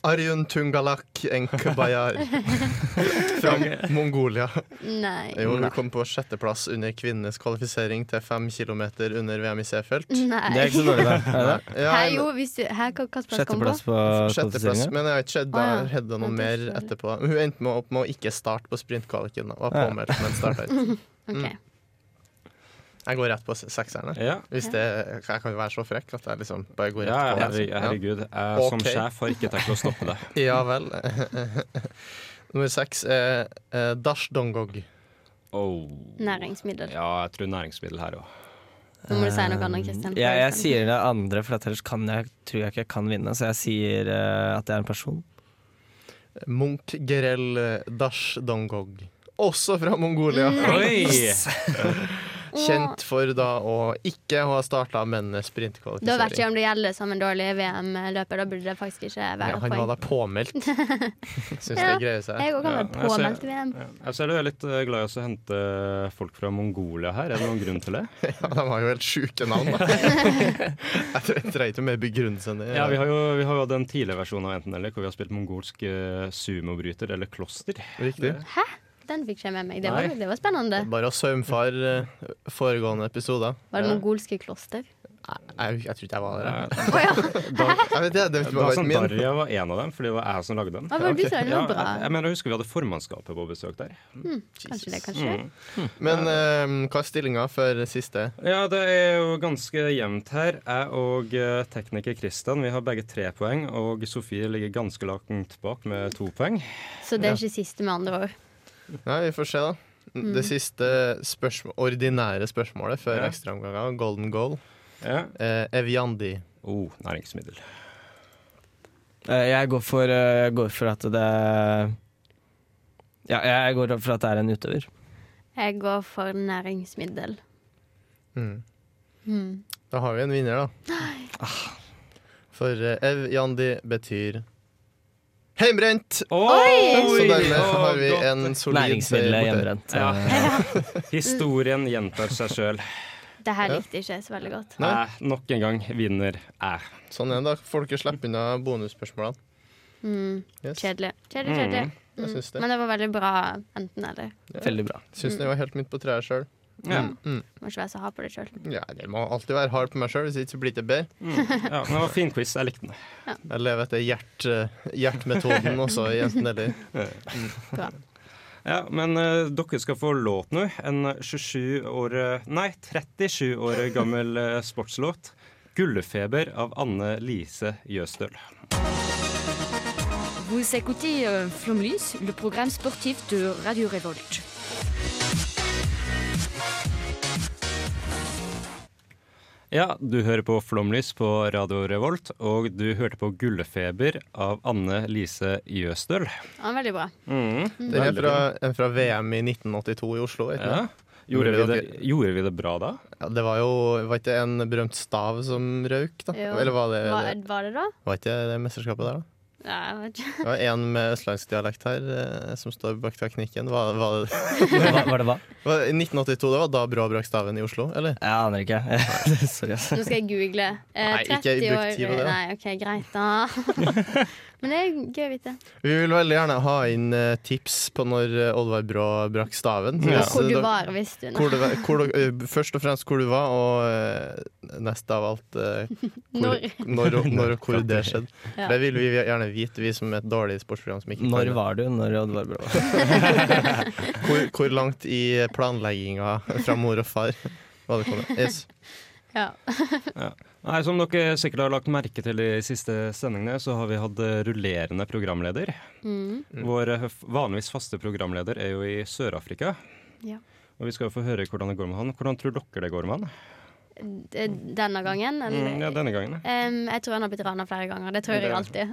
Speaker 7: Arjun Tungalak Enk Bayar fra Mongolia.
Speaker 6: Nei.
Speaker 7: Jo, hun kom på sjetteplass under kvinnenes kvalifisering til fem kilometer under VM i Seefeld.
Speaker 12: Det er
Speaker 6: Nei.
Speaker 12: ikke så dårlig, da. Er det?
Speaker 7: Ja,
Speaker 6: Her, jo, hvis du Her kan Kasper komme på.
Speaker 12: Sjetteplass på
Speaker 7: Sjetteplass,
Speaker 12: kvalifiseringa.
Speaker 7: men jeg har ikke sett
Speaker 6: Å,
Speaker 7: da
Speaker 6: ja.
Speaker 7: Hedda noe
Speaker 6: Ja, det
Speaker 7: mer
Speaker 6: skjønner jeg.
Speaker 7: etterpå. Hun endte med, opp med å ikke starte på sprintkvaliken. da, Var
Speaker 12: Ja.
Speaker 7: påmeldt, men startet ikke.
Speaker 6: Ok.
Speaker 7: Jeg går rett på se- sekserne.
Speaker 5: Ja.
Speaker 7: Hvis det, jeg kan jo være så frekk at jeg liksom bare går
Speaker 5: Ja,
Speaker 7: rett på.
Speaker 5: herregud, herregud. Jeg som
Speaker 7: Ok.
Speaker 5: sjef har ikke tenkt å stoppe det.
Speaker 7: Ja, ja vel. Nummer seks er eh, Dash Dongog.
Speaker 5: Oh.
Speaker 6: Næringsmiddel.
Speaker 5: Ja, jeg tror næringsmiddel her òg.
Speaker 6: Nå må du si noe annet, Kristian.
Speaker 12: Ehm, Ja, jeg sier det andre, for at ellers kan jeg, tror jeg ikke jeg kan vinne. Så jeg sier eh, at jeg er en person.
Speaker 7: Munch Gerell eh, Dash Dongog. Også fra Mongolia.
Speaker 6: Mm.
Speaker 7: Kjent for da å ikke ha starta mennenes sprintkvalifisering.
Speaker 6: Da vet jeg om det gjelder som en dårlig VM-løper. Da burde det faktisk ikke
Speaker 7: ja,
Speaker 6: være et
Speaker 7: han var
Speaker 6: poeng.
Speaker 7: da påmeldt. Syns
Speaker 6: Ja,
Speaker 7: det greier seg.
Speaker 6: Jeg òg
Speaker 5: Ja,
Speaker 6: kan være
Speaker 5: jeg ser-
Speaker 6: påmeldt i VM.
Speaker 5: Jeg ser du er litt eh, glad i oss å hente folk fra Mongolia her. Er det noen grunn til det?
Speaker 7: Ja, de har jo helt sjuke navn, da. jeg tror jeg trenger ikke mer begrunnelse enn det.
Speaker 5: Ja, Vi har jo, vi har jo hatt en tidligere versjon av Enten eller, hvor vi har spilt mongolsk eh, sumobryter eller kloster.
Speaker 7: Riktig.
Speaker 6: Den fikk jeg med meg. Det var,
Speaker 5: Nei.
Speaker 6: det var spennende.
Speaker 7: Bare å saumfare eh, foregående episode.
Speaker 6: Var det mongolske kloster?
Speaker 7: Jeg, jeg tror ikke jeg var der. jeg.
Speaker 5: Da,
Speaker 7: Jeg vet, det, det
Speaker 5: da sånn
Speaker 7: var ikke
Speaker 5: som
Speaker 7: min.
Speaker 5: Darja var en av dem, fordi det var jeg som lagde den.
Speaker 6: Hva var det du sa? Det
Speaker 5: Ja,
Speaker 6: var bra.
Speaker 5: jeg, jeg mener, jeg husker vi hadde formannskapet på besøk der.
Speaker 6: Kanskje det kan skje.
Speaker 7: Men eh, hva er stillinga for siste?
Speaker 5: Ja, det er jo ganske jevnt her. Jeg og eh, tekniker Kristian vi har begge tre poeng, og Sofie ligger ganske langt bak med to poeng.
Speaker 6: Så det er ikke siste, med andre ord.
Speaker 7: Nei, vi får se, da. Det siste spørsmål, ordinære spørsmålet før
Speaker 5: Ja.
Speaker 7: ekstraomgangen, golden goal,
Speaker 5: Ja.
Speaker 7: eh, Eviandi.
Speaker 5: Oh, næringsmiddel.
Speaker 12: Eh, Jeg går for, eh, jeg går for at det Ja, jeg går for at det er en utøver.
Speaker 6: Jeg går for næringsmiddel.
Speaker 7: Mm.
Speaker 6: Mm.
Speaker 7: Da har vi en vinner, da. Ah. For eh, Eviandi betyr heimbrent! Så dermed har vi en solid
Speaker 12: Næringsmiddel
Speaker 7: seier.
Speaker 12: er
Speaker 7: borte.
Speaker 12: hjemmebrent.
Speaker 5: Ja.
Speaker 12: Eh,
Speaker 5: Historien gjentar seg sjøl.
Speaker 6: Det her
Speaker 7: Ja.
Speaker 6: likte ikke jeg så veldig godt.
Speaker 7: Nei.
Speaker 5: Jeg nok en gang vinner jeg.
Speaker 7: Sånn er det. da. Får dere slippe unna bonusspørsmålene.
Speaker 6: Mm.
Speaker 7: Yes.
Speaker 6: Kjedelig. Kjedelig, kjedelig.
Speaker 7: Jeg
Speaker 6: Mm.
Speaker 7: syns det.
Speaker 6: Men det var veldig bra enten eller.
Speaker 13: Eh,
Speaker 12: Veldig bra.
Speaker 6: Mm.
Speaker 7: Syns det var helt midt på treet sjøl.
Speaker 5: Ja.
Speaker 6: Må ikke være så hard på det sjøl.
Speaker 7: Ja, jeg må alltid være hard på meg sjøl, hvis ikke så blir det bedre.
Speaker 5: Ja, men det var fin quiz. Jeg likte den.
Speaker 7: Jeg lever etter hjert, eh, hjertmetoden også, i enten eller.
Speaker 5: Ja, Men eh, dere skal få låt nå. En 27 år eh, Nei, 37 år gammel eh, sportslåt. 'Gullfeber' av Anne Lise Jøsdøl.
Speaker 14: Vous écoutez euh, Flomlys, le programme sportif de Radio Révolte.
Speaker 5: Ja, du hører på Flomlys på Radio Revolt, og du hørte på 'Gullfeber' av Anne Lise Jøsdøl.
Speaker 6: Ja, veldig bra.
Speaker 5: Mm.
Speaker 7: Den er fra, en fra VM i 1982 i Oslo. Ikke?
Speaker 5: Ja.
Speaker 7: sant?
Speaker 5: Gjorde vi det,
Speaker 7: Dere-
Speaker 5: gjorde vi det bra da?
Speaker 7: Ja, det var jo Var ikke det en berømt stav som røyk, da?
Speaker 6: Jo.
Speaker 7: Eller var det
Speaker 6: Hva-
Speaker 7: det?
Speaker 6: var det da?
Speaker 7: Var ikke det mesterskapet der, da?
Speaker 6: Nei, jeg vet
Speaker 7: Det
Speaker 6: ikke.
Speaker 7: var en med østlandsdialekt her eh, som står bak teknikken. Hva, hva,
Speaker 13: Hva- hva det var?
Speaker 7: Var- I 1982, det var da Brå brakk staven i Oslo, eller?
Speaker 13: Jeg aner ikke. Sorry, ass.
Speaker 6: Nå skal jeg google. Eh,
Speaker 7: Nei, ikke
Speaker 6: 30
Speaker 7: bruk
Speaker 6: år-
Speaker 7: tid på det, da.
Speaker 6: Nei, ok, greit da. Men det er gøy å vite.
Speaker 7: Vi vil veldig gjerne ha inn eh, tips på når eh, Oddvar Brå brakk staven.
Speaker 6: Og
Speaker 7: Hvis,
Speaker 6: hvor
Speaker 7: eh,
Speaker 6: du
Speaker 7: da-
Speaker 6: var, hvis du
Speaker 7: Hvor du, var- hvor, du- eh, først og fremst hvor du var, og eh, nest av alt eh, hvor,
Speaker 6: Når.
Speaker 7: når, og- når og hvor det skjedde.
Speaker 6: Ja.
Speaker 7: Det vil vi gjerne vite, vi som er et dårlig sportsprogram. Som ikke kan
Speaker 13: Når
Speaker 7: det.
Speaker 13: var du når Oddvar Brå
Speaker 7: hvor, hvor langt i planlegginga fra mor og far var det kommet? Yes.
Speaker 6: Ja.
Speaker 5: Ja. Nei, Som dere sikkert har lagt merke til i siste sendingene, så har vi hatt eh, rullerende programleder.
Speaker 6: Mm.
Speaker 5: Vår eh, f- vanligvis faste programleder er jo i Sør-Afrika.
Speaker 6: Ja.
Speaker 5: Og vi skal jo få høre hvordan det går med han. Hvordan tror dere det går med han?
Speaker 6: D- Eh, Denne gangen? Eller?
Speaker 5: Mm, ja, denne gangen.
Speaker 6: Em, jeg tror han har blitt rana flere ganger. Det tror
Speaker 7: Det
Speaker 6: jeg
Speaker 7: er-
Speaker 6: alltid.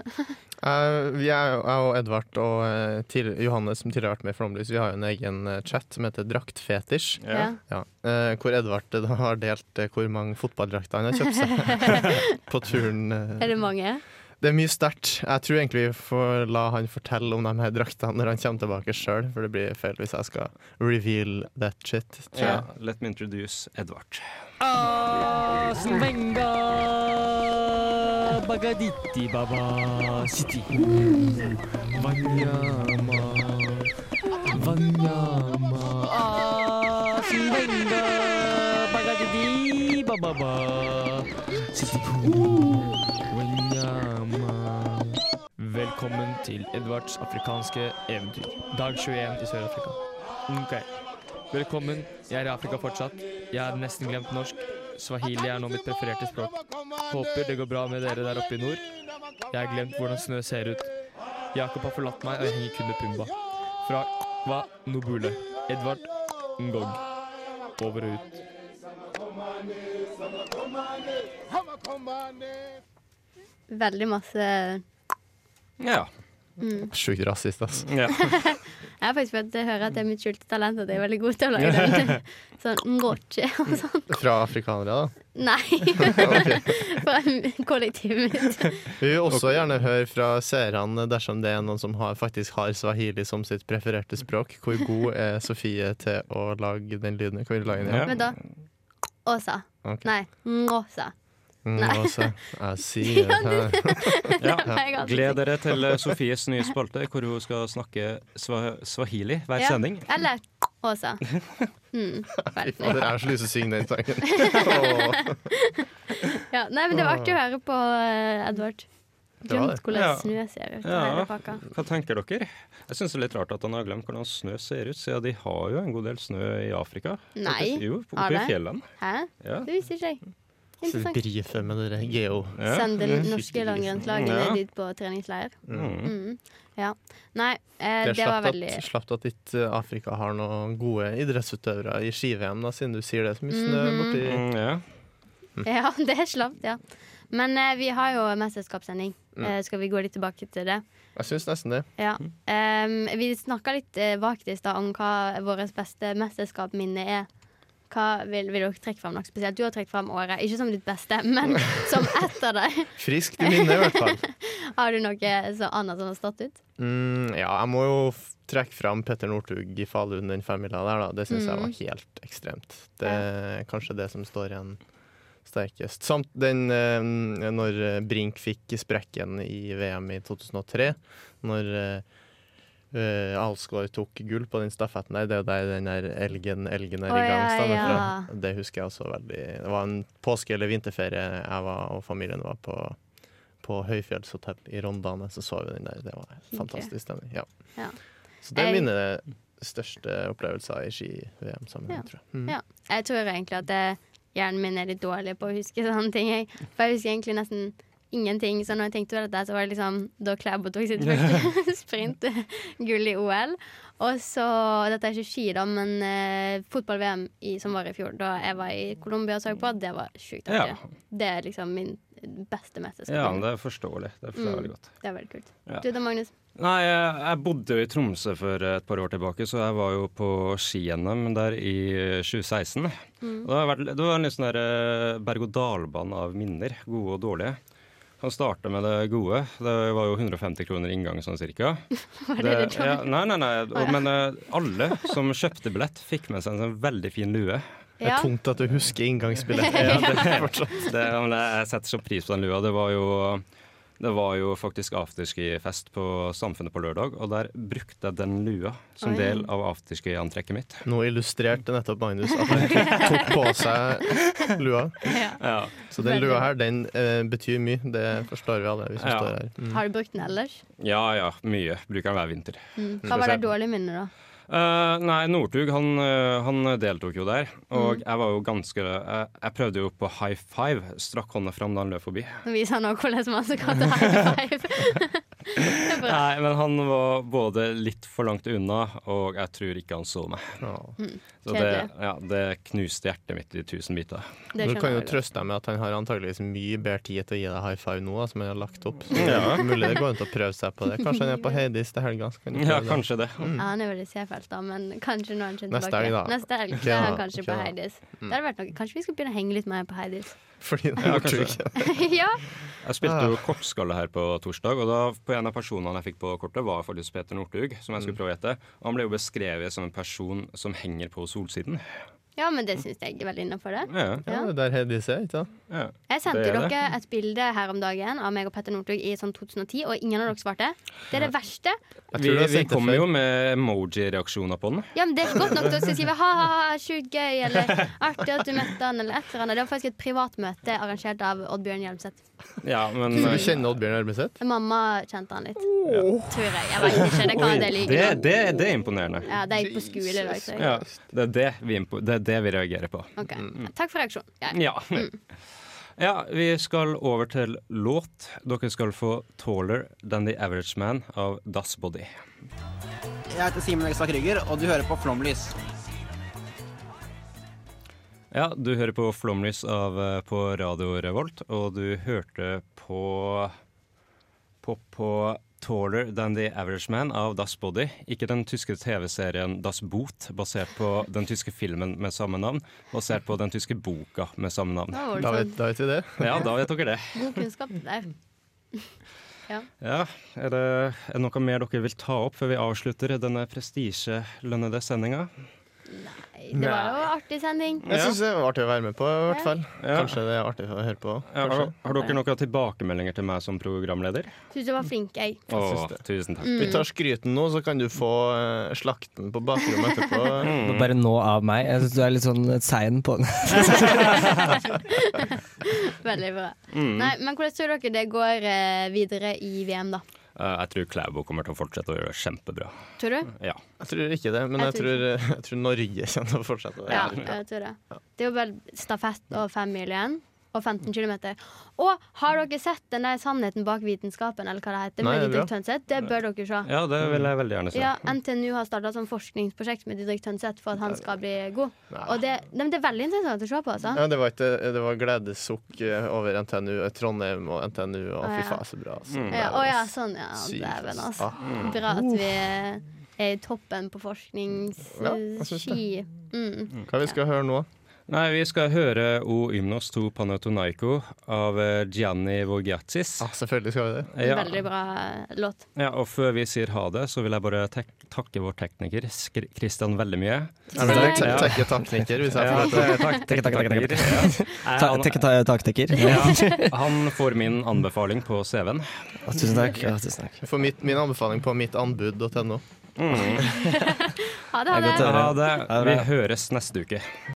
Speaker 7: Eh, vi er, jo- jeg og Edvard og eh, til, Johannes, som tidligere har vært med i Flomlys, vi har jo en egen eh, chat som heter Draktfetisj.
Speaker 6: Ja.
Speaker 7: Eh, hvor Edvard eh, da har delt eh, hvor mange fotballdrakter han har kjøpt seg på turen. eh.
Speaker 6: Er det mange?
Speaker 7: Det er mye sterkt. Jeg tror egentlig vi får la han fortelle om de her draktene når han kommer tilbake sjøl, for det blir feil hvis jeg skal reveal that shit. tror
Speaker 5: Ja.
Speaker 7: jeg.
Speaker 5: Let me introduce Edvard.
Speaker 12: Svenga Bagaditti Baba City Vanyama Vanyama Ah, Svenga Bagaditti Baba City Vanyama Velkommen til Edvards afrikanske eventyr. Dag 21 i Sør-Afrika. Ok. Velkommen. Jeg er i Afrika fortsatt. Jeg har nesten glemt norsk. Swahili er nå mitt prefererte språk. Håper det går bra med dere der oppe i nord. Jeg har glemt hvordan snø ser ut. Jakob har forlatt meg, og jeg henger kun med Pumba. Fra Kwa Nobule. Edvard Ngog. Over og ut.
Speaker 6: Veldig masse
Speaker 5: Ja.
Speaker 6: mm.
Speaker 7: Sjukt rasist, altså.
Speaker 6: Jeg har faktisk fått høre at det er mitt skjulte talent at jeg er veldig god til å lage den. Sånn mroche og sånn.
Speaker 7: Fra afrikanere, da.
Speaker 6: Nei. Fra kollektivet mitt.
Speaker 7: Vi vil også gjerne høre fra seerne dersom det er noen som har, faktisk har swahili som sitt prefererte språk. Hvor god er Sofie til å lage den lyden? Kan vi lage den
Speaker 6: Men
Speaker 7: igjen?
Speaker 6: da Åsa.
Speaker 7: Ok.
Speaker 6: Nei, Ngåsa.
Speaker 7: Mm,
Speaker 6: Nei.
Speaker 7: altså, jeg sier det her.
Speaker 5: Ja.
Speaker 6: Nei, jeg har aldri
Speaker 5: Gled dere til eh, Sofies nye spalte, hvor hun skal snakke swa swahili hver
Speaker 6: Ja.
Speaker 5: sending.
Speaker 6: Eller Åsa. Mm.
Speaker 7: Fy fader, jeg har så lyst til å synge den sangen.
Speaker 6: Ja, nei, men det var artig å høre på, eh, Edvard.
Speaker 5: Det var
Speaker 6: Glemt
Speaker 5: det.
Speaker 6: hvordan
Speaker 5: Ja.
Speaker 6: snø ser ut. og hele
Speaker 5: Ja,
Speaker 6: pakka.
Speaker 5: hva tenker dere? Jeg syns det er litt rart at han har glemt hvordan snø ser ut, siden de har jo en god del snø i Afrika.
Speaker 6: Nei,
Speaker 5: Faktisk, Jo,
Speaker 6: har
Speaker 5: oppe i
Speaker 6: det?
Speaker 5: fjellene.
Speaker 6: Hæ?
Speaker 5: Ja.
Speaker 6: Det visste ikke jeg. Interessant.
Speaker 7: Brife med dere geo.
Speaker 6: Send det norske langrennslaget
Speaker 7: Ja.
Speaker 6: dit på treningsleir.
Speaker 7: Mm.
Speaker 6: Mm. Ja. Nei, eh,
Speaker 7: Det
Speaker 6: det, var
Speaker 7: er slapt at,
Speaker 6: veldig
Speaker 7: slapt at ikke Afrika har noen gode idrettsutøvere i ski-VM, da, siden du sier det er så mye snø
Speaker 6: Mhm.
Speaker 7: borti
Speaker 5: Mm, ja.
Speaker 6: Ja, det er slapt, ja. Men eh, vi har jo mesterskapssending.
Speaker 7: Mm.
Speaker 6: Eh, skal vi gå litt tilbake til det?
Speaker 7: Jeg syns nesten det.
Speaker 6: Ja. Em, vi snakka litt eh, vagt i stad om hva vårt beste mesterskapsminne er. Hva vil, vil dere trekke fram noe spesielt? Du har trukket fram året, ikke som ditt beste, men som ett av dem.
Speaker 7: Friskt i minne, i hvert fall.
Speaker 6: Har du noe så annet som har stått ut?
Speaker 7: Mm, ja, jeg må jo f- trekke fram Petter Northug i Falun, den femmila der, da. Det syns jeg var
Speaker 6: Mm.
Speaker 7: helt ekstremt. Det er kanskje det som står igjen sterkest. Samt den eh, når eh, Brink fikk sprekken i VM i 2003, når eh, eh, Alsgaard tok gull på den stafetten der. Det er jo der den der elgen, elgen er
Speaker 6: Å,
Speaker 7: i gang
Speaker 6: ja,
Speaker 7: stammer
Speaker 6: ja.
Speaker 7: fra. Det husker jeg også veldig. Det var en påske- eller vinterferie jeg var, og familien var på, på høyfjellshotell i Rondane. Så så vi den der. Det var fantastisk stemning. Ja.
Speaker 6: Ja.
Speaker 7: Så det
Speaker 6: Jeg-
Speaker 7: er mine største opplevelser i ski-VM-sammenheng, tror jeg. Mm.
Speaker 6: Ja. Jeg tror egentlig at eh, hjernen min er litt dårlig på å huske sånne ting. Jeg. For jeg husker egentlig nesten ingenting. Så når jeg tenkte over dette, så var det liksom da Klæbo tok sitt første sprintgull i OL. Og så Dette er ikke ski, da, men eh, fotball-VM i- som var i fjor, da jeg var i Colombia og så på, det var sjukt
Speaker 5: Ja.
Speaker 6: artig. Det er liksom min beste mesterskapet.
Speaker 5: Ja, men det er forståelig. Det forstår
Speaker 6: Mm.
Speaker 5: jeg veldig godt.
Speaker 6: Det er veldig kult.
Speaker 5: Ja.
Speaker 6: Du da, Magnus?
Speaker 5: Nei, jeg, jeg bodde jo i Tromsø for et par år tilbake, så jeg var jo på ski-NM der i 2016.
Speaker 6: Mm.
Speaker 5: Og Det, har vært, det var en litt sånn der eh, berg-og-dal-bane av minner, gode og dårlige. Kan starte med det gode. Det var jo 150 kroner inngang sånn cirka.
Speaker 6: Var det
Speaker 5: ja,
Speaker 6: det dårlige?
Speaker 5: nei, nei, nei. Og,
Speaker 6: Å, ja.
Speaker 5: Men eh, alle som kjøpte billett, fikk med seg en sånn veldig fin lue.
Speaker 6: Det er Ja.
Speaker 5: tungt at du husker inngangsbillett.
Speaker 6: Ja.
Speaker 5: det, ja, men jeg setter så pris på den lua. Det var jo, det var jo faktisk afterski-fest på Samfunnet på lørdag, og der brukte jeg den lua som
Speaker 7: Oi.
Speaker 5: del av afterski-antrekket mitt.
Speaker 7: Nå illustrerte nettopp Magnus at han tok på seg lua.
Speaker 5: Ja.
Speaker 7: Så den lua her, den eh, betyr mye. Det forstår vi alle, vi som
Speaker 5: Ja.
Speaker 7: står her. Mm.
Speaker 6: Har du brukt den ellers?
Speaker 5: Ja ja, mye. Bruker den hver vinter.
Speaker 6: Mm. Hva var det dårlige minnet, da?
Speaker 5: Eh, nei, Northug han, eh, han deltok jo der,
Speaker 6: Mm.
Speaker 5: og jeg var jo ganske jeg, jeg prøvde jo på high five. Strakk hånda fram da han løp forbi.
Speaker 6: Nå viser han også hvordan man skal ta high five. Det er bra.
Speaker 5: Nei, men han var både litt for langt unna, og jeg tror ikke han så meg.
Speaker 6: Mm,
Speaker 5: Så det,
Speaker 6: kjedelig.
Speaker 5: ja, det knuste hjertet mitt i tusen biter.
Speaker 6: Det
Speaker 7: Du
Speaker 6: skjønner
Speaker 7: kan jo
Speaker 6: jeg godt.
Speaker 7: trøste deg med at han har antageligvis mye bedre tid til å gi deg high five nå, da, som han har lagt opp. Så
Speaker 5: Ja.
Speaker 7: det er mulig det går an til å prøve seg på det. Kanskje han er på Heidis til helga. så kan du
Speaker 5: Ja,
Speaker 7: prøve
Speaker 5: kanskje det.
Speaker 6: Ja, han er vel i Seefeld, da, men kanskje når han kommer
Speaker 7: Mm. Neste
Speaker 6: tilbake.
Speaker 7: helg, da.
Speaker 6: Neste helg
Speaker 7: Ok,
Speaker 6: så er han
Speaker 7: da.
Speaker 6: kanskje på
Speaker 7: Ok, da.
Speaker 6: Heidis. Det
Speaker 7: Mm.
Speaker 6: hadde vært noe. Kanskje vi skal begynne å henge litt mer på Heidis?
Speaker 7: Fordi det
Speaker 5: Ja,
Speaker 7: er
Speaker 5: kanskje
Speaker 7: Northug.
Speaker 6: ja.
Speaker 5: Jeg spilte
Speaker 7: Ah.
Speaker 5: jo kortskalle her på torsdag, og da på en av personene jeg fikk på kortet, var faktisk Peter Northug, som
Speaker 7: Mm.
Speaker 5: jeg skulle prøve å gjette. Og Han ble jo beskrevet som en person som henger på solsiden.
Speaker 6: ja, men det syns jeg er veldig innafor det.
Speaker 5: Ja,
Speaker 7: Ja, det er der Heidis er, ikke sant?
Speaker 6: Jeg sendte
Speaker 7: Det er det.
Speaker 6: dere et bilde her om dagen av meg og Petter Northug i sånn 2010, og ingen av dere svarte. Det er det verste.
Speaker 7: Jeg tror
Speaker 5: Vi,
Speaker 7: du har
Speaker 5: vi
Speaker 7: sett det
Speaker 5: kommer
Speaker 7: før.
Speaker 5: jo med emoji-reaksjoner på den.
Speaker 6: Ja, men Det er ikke godt nok til å skrive ha-ha-ha, sjukt gøy, eller artig at du møtte han, eller et eller annet. Det var faktisk et privat møte arrangert av Oddbjørn Hjelmseth.
Speaker 5: Ja, men
Speaker 7: Så du kjenner Oddbjørn Arbeset?
Speaker 6: Mamma kjente han litt.
Speaker 7: Oh.
Speaker 6: Tror jeg. Jeg vet ikke. Det kan det
Speaker 5: det,
Speaker 6: lyve.
Speaker 5: det, det er imponerende.
Speaker 6: Ja, de gikk på skole i dag, så
Speaker 5: Ja, det, er det, vi impo det er det vi reagerer på.
Speaker 6: OK.
Speaker 5: mm.
Speaker 6: Takk for reaksjonen. Geir.
Speaker 5: Ja. ja, vi skal over til låt. Dere skal få 'Taller Than The Average Man' av Das Body.
Speaker 15: Jeg heter Simen Ekstad Krygger, og du hører på Flomlys.
Speaker 5: Ja, du hører på Flomlys av, eh, på Radio Revolt, og du hørte på på, på 'Taller Than The Average Man' av Das Body. Ikke den tyske TV-serien Das Boot, basert på den tyske filmen med samme navn, basert på den tyske boka med samme navn.
Speaker 6: Da var det Da vet- sånn.
Speaker 7: da vet vi det.
Speaker 5: Ja, da vet dere det.
Speaker 6: God kunnskap der. Ja.
Speaker 5: Ja, er det, er det noe mer dere vil ta opp før vi avslutter denne prestisjelønnede sendinga?
Speaker 6: Det var jo en artig sending.
Speaker 7: Jeg syns det var artig å være med på, i hvert fall.
Speaker 5: Ja.
Speaker 7: Kanskje det er artig å høre på.
Speaker 5: Har,
Speaker 7: kanskje.
Speaker 5: har dere noen tilbakemeldinger til meg som programleder?
Speaker 6: Syns du var flink, jeg.
Speaker 5: Å,
Speaker 7: syns det.
Speaker 5: tusen takk.
Speaker 6: Mm.
Speaker 7: Vi tar skryten nå, så kan du få eh, slakten på bakrommet etterpå. Mm.
Speaker 11: Bare nå av meg. Jeg syns du er litt sånn sein på den.
Speaker 6: Veldig bra.
Speaker 5: Mm.
Speaker 6: Nei, men hvordan tror dere det går eh, videre i VM, da?
Speaker 5: Eh, jeg tror Klæbo kommer til å fortsette å gjøre det kjempebra.
Speaker 6: Tror du?
Speaker 5: Ja.
Speaker 7: Jeg tror ikke det, men
Speaker 6: Jeg
Speaker 7: jeg tror, eh, jeg tror Norge kommer til å fortsette.
Speaker 6: Ja, jeg tror det. Det er jo bare stafett og fem mil igjen. Og 15 km. Og har dere sett den der sannheten bak vitenskapen, eller hva det heter?
Speaker 5: Mm. Nei, det
Speaker 6: med
Speaker 5: er bra.
Speaker 6: Didrik Tønseth? Det bør dere se.
Speaker 5: Ja, det vil jeg veldig gjerne se.
Speaker 6: Ja, NTNU har starta sånn forskningsprosjekt med Didrik Tønseth for at han skal bli god. Og det, Nei, men det er veldig interessant å se på, altså.
Speaker 7: Ja, det var, ikke, det var gledessukk eh, over NTNU, Trondheim og NTNU, og
Speaker 6: Å,
Speaker 7: fy
Speaker 6: ja.
Speaker 7: faen, så bra. Altså.
Speaker 6: Ja, å ja, sånn. Ja, dæven, altså.
Speaker 7: Ah.
Speaker 6: Bra at vi er i toppen på forskningsski.
Speaker 7: Ja, jeg synes
Speaker 6: mm.
Speaker 7: Hva vi skal høre nå?
Speaker 5: Nei, vi skal høre O Ymnos to Panatonaiko av eh, Gianni Vogiatis. Ja,
Speaker 7: selvfølgelig skal vi
Speaker 5: Ja.
Speaker 6: Veldig bra låt.
Speaker 5: Ja, og før vi sier ha det, så vil jeg bare tek takke vår tekniker, Skr- Kristian veldig mye.
Speaker 7: Jeg vil Takk. te- takke tekniker, hvis jeg får lov til.
Speaker 11: Takke, takke, takke, takke.
Speaker 5: Ja.
Speaker 11: Ta- takke, ta- taktikker.
Speaker 5: Ja, han får min anbefaling på CV-en.
Speaker 11: Tusen takk. Ja, tusen takk.
Speaker 7: For mitt, min anbefaling på mittanbud.no.
Speaker 5: Mm.
Speaker 6: Ha det, ha det.
Speaker 5: Ha det. Vi høres neste uke.